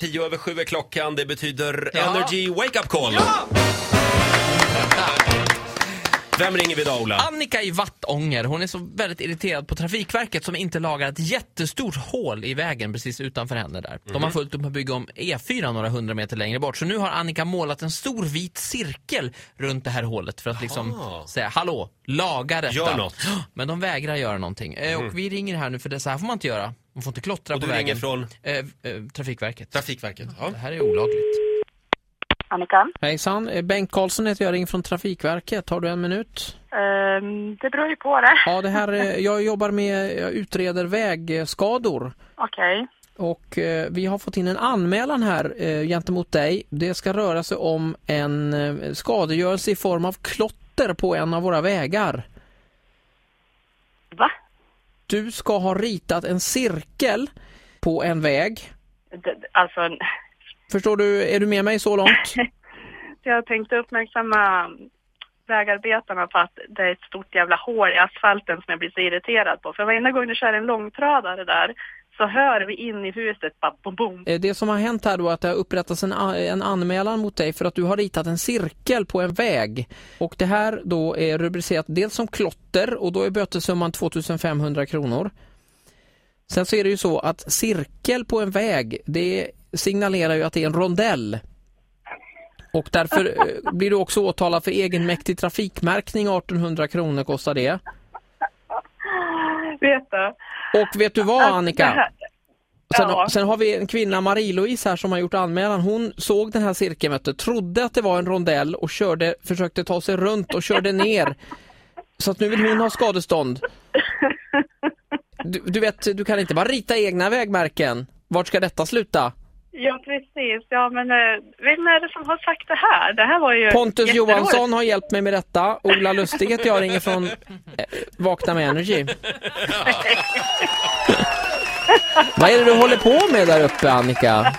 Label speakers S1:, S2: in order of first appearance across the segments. S1: Tio över sju är klockan. Det betyder
S2: Ja.
S1: Energy Wake Up Call. Vem ringer vi idag, Ola?
S2: Annika i Vattånger, hon är så väldigt irriterad på Trafikverket som inte lagar ett jättestort hål i vägen precis utanför henne där. De
S1: Mhm.
S2: har fullt upp med att bygga om E4 några hundra meter längre bort. Så nu har Annika målat en stor vit cirkel runt det här hålet för att liksom
S1: Jaha.
S2: säga hallå, laga detta.
S1: Gör något. Mhm.
S2: Men de vägrar göra någonting. Eh, Och vi ringer här nu för det så här får man inte göra. Man får inte klottra
S1: Och
S2: på
S1: du ringer
S2: vägen.
S1: från
S2: Eh, eh, Trafikverket.
S1: Trafikverket. Ja.
S2: Det här är olagligt.
S3: Annika?
S4: Hejsan, eh, Bengt Karlsson heter jag, ringer från Trafikverket. Har du en minut?
S3: Ehm, det beror ju på det.
S4: Ja, det här, eh, jag jobbar med, jag utreder vägskador
S3: Okej.
S4: och eh, vi har fått in en anmälan här eh, gentemot dig. Det ska röra sig om en eh, skadegörelse i form av klotter på en av våra vägar.
S3: Va?
S4: Du ska ha ritat en cirkel på en väg.
S3: D- d- alltså,
S4: Förstår du, är du med mig så långt?
S3: jag tänkte uppmärksamma vägarbetarna på att det är ett stort jävla hål i asfalten som jag blir så irriterad på. För varenda gång du kör en långtradare där så hör vi in i huset bara bom, bom.
S4: Eh, Det som har hänt här då är att det har upprättats en, a- en anmälan mot dig för att du har ritat en cirkel på en väg. Och det här då är rubricerat dels som klotter och då är bötessumman 2500 kronor. Sen så är det ju så att cirkel på en väg det signalerar ju att det är en rondell. Och därför eh, blir du också åtalad för egenmäktig trafikmärkning, 1800 kronor kostar det.
S3: Vet du?
S4: Och vet du vad
S3: Alltså,
S4: Annika?
S3: det här-
S4: Sen,
S3: Ja.
S4: sen har vi en kvinna, Marie-Louise här, som har gjort anmälan. Hon såg den här cirkeln, vet du, trodde att det var en rondell och körde, försökte ta sig runt och körde ner. Så att nu vill hon ha skadestånd. Du, du vet, du kan inte bara rita egna vägmärken. Vart ska detta sluta?
S3: Ja, precis. Ja, men eh, vem är det som har sagt det här? Det här var ju
S4: Pontus
S3: jätteroligt.
S4: Johansson har hjälpt mig med detta. Ola Lustig heter jag, ringer från eh, Vakna med Energy. Vad är det du håller på med där uppe, Annika?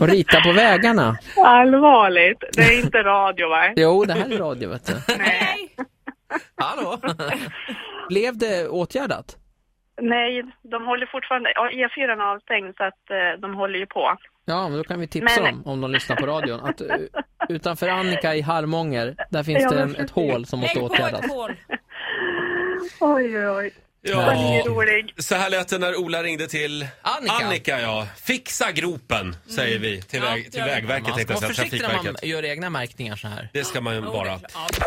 S4: Och rita på vägarna?
S3: Allvarligt. Det är inte radio, va?
S4: Jo, det här är radio vet du.
S3: Nej.
S2: Hallå!
S4: Blev det åtgärdat?
S3: Nej, de håller fortfarande... Ja, E E4 är avstängd, så att eh, de håller ju på.
S4: Ja, men då kan vi tipsa
S3: Men-
S4: dem om de lyssnar på radion. Att eh, utanför Annika i Harmånger, där finns
S3: Ja,
S4: det
S3: men
S4: en, ett
S3: precis.
S4: hål som måste
S5: Lägg på
S4: åtgärdas.
S5: ett hål.
S3: Oj, oj, oj. Den är
S1: Ja.
S3: rolig.
S1: Så här lät det när Ola ringde till
S2: Annika. Mm.
S1: ja. Fixa gropen, säger vi till,
S5: Ja,
S1: väg, till
S5: gör det.
S1: Vägverket.
S2: Man
S1: tänkte
S2: ska
S1: jag
S2: vara
S1: säga,
S2: försiktig när man
S1: Trafikverket.
S2: gör egna märkningar så här.
S1: Det ska man ju vara.
S5: Ja,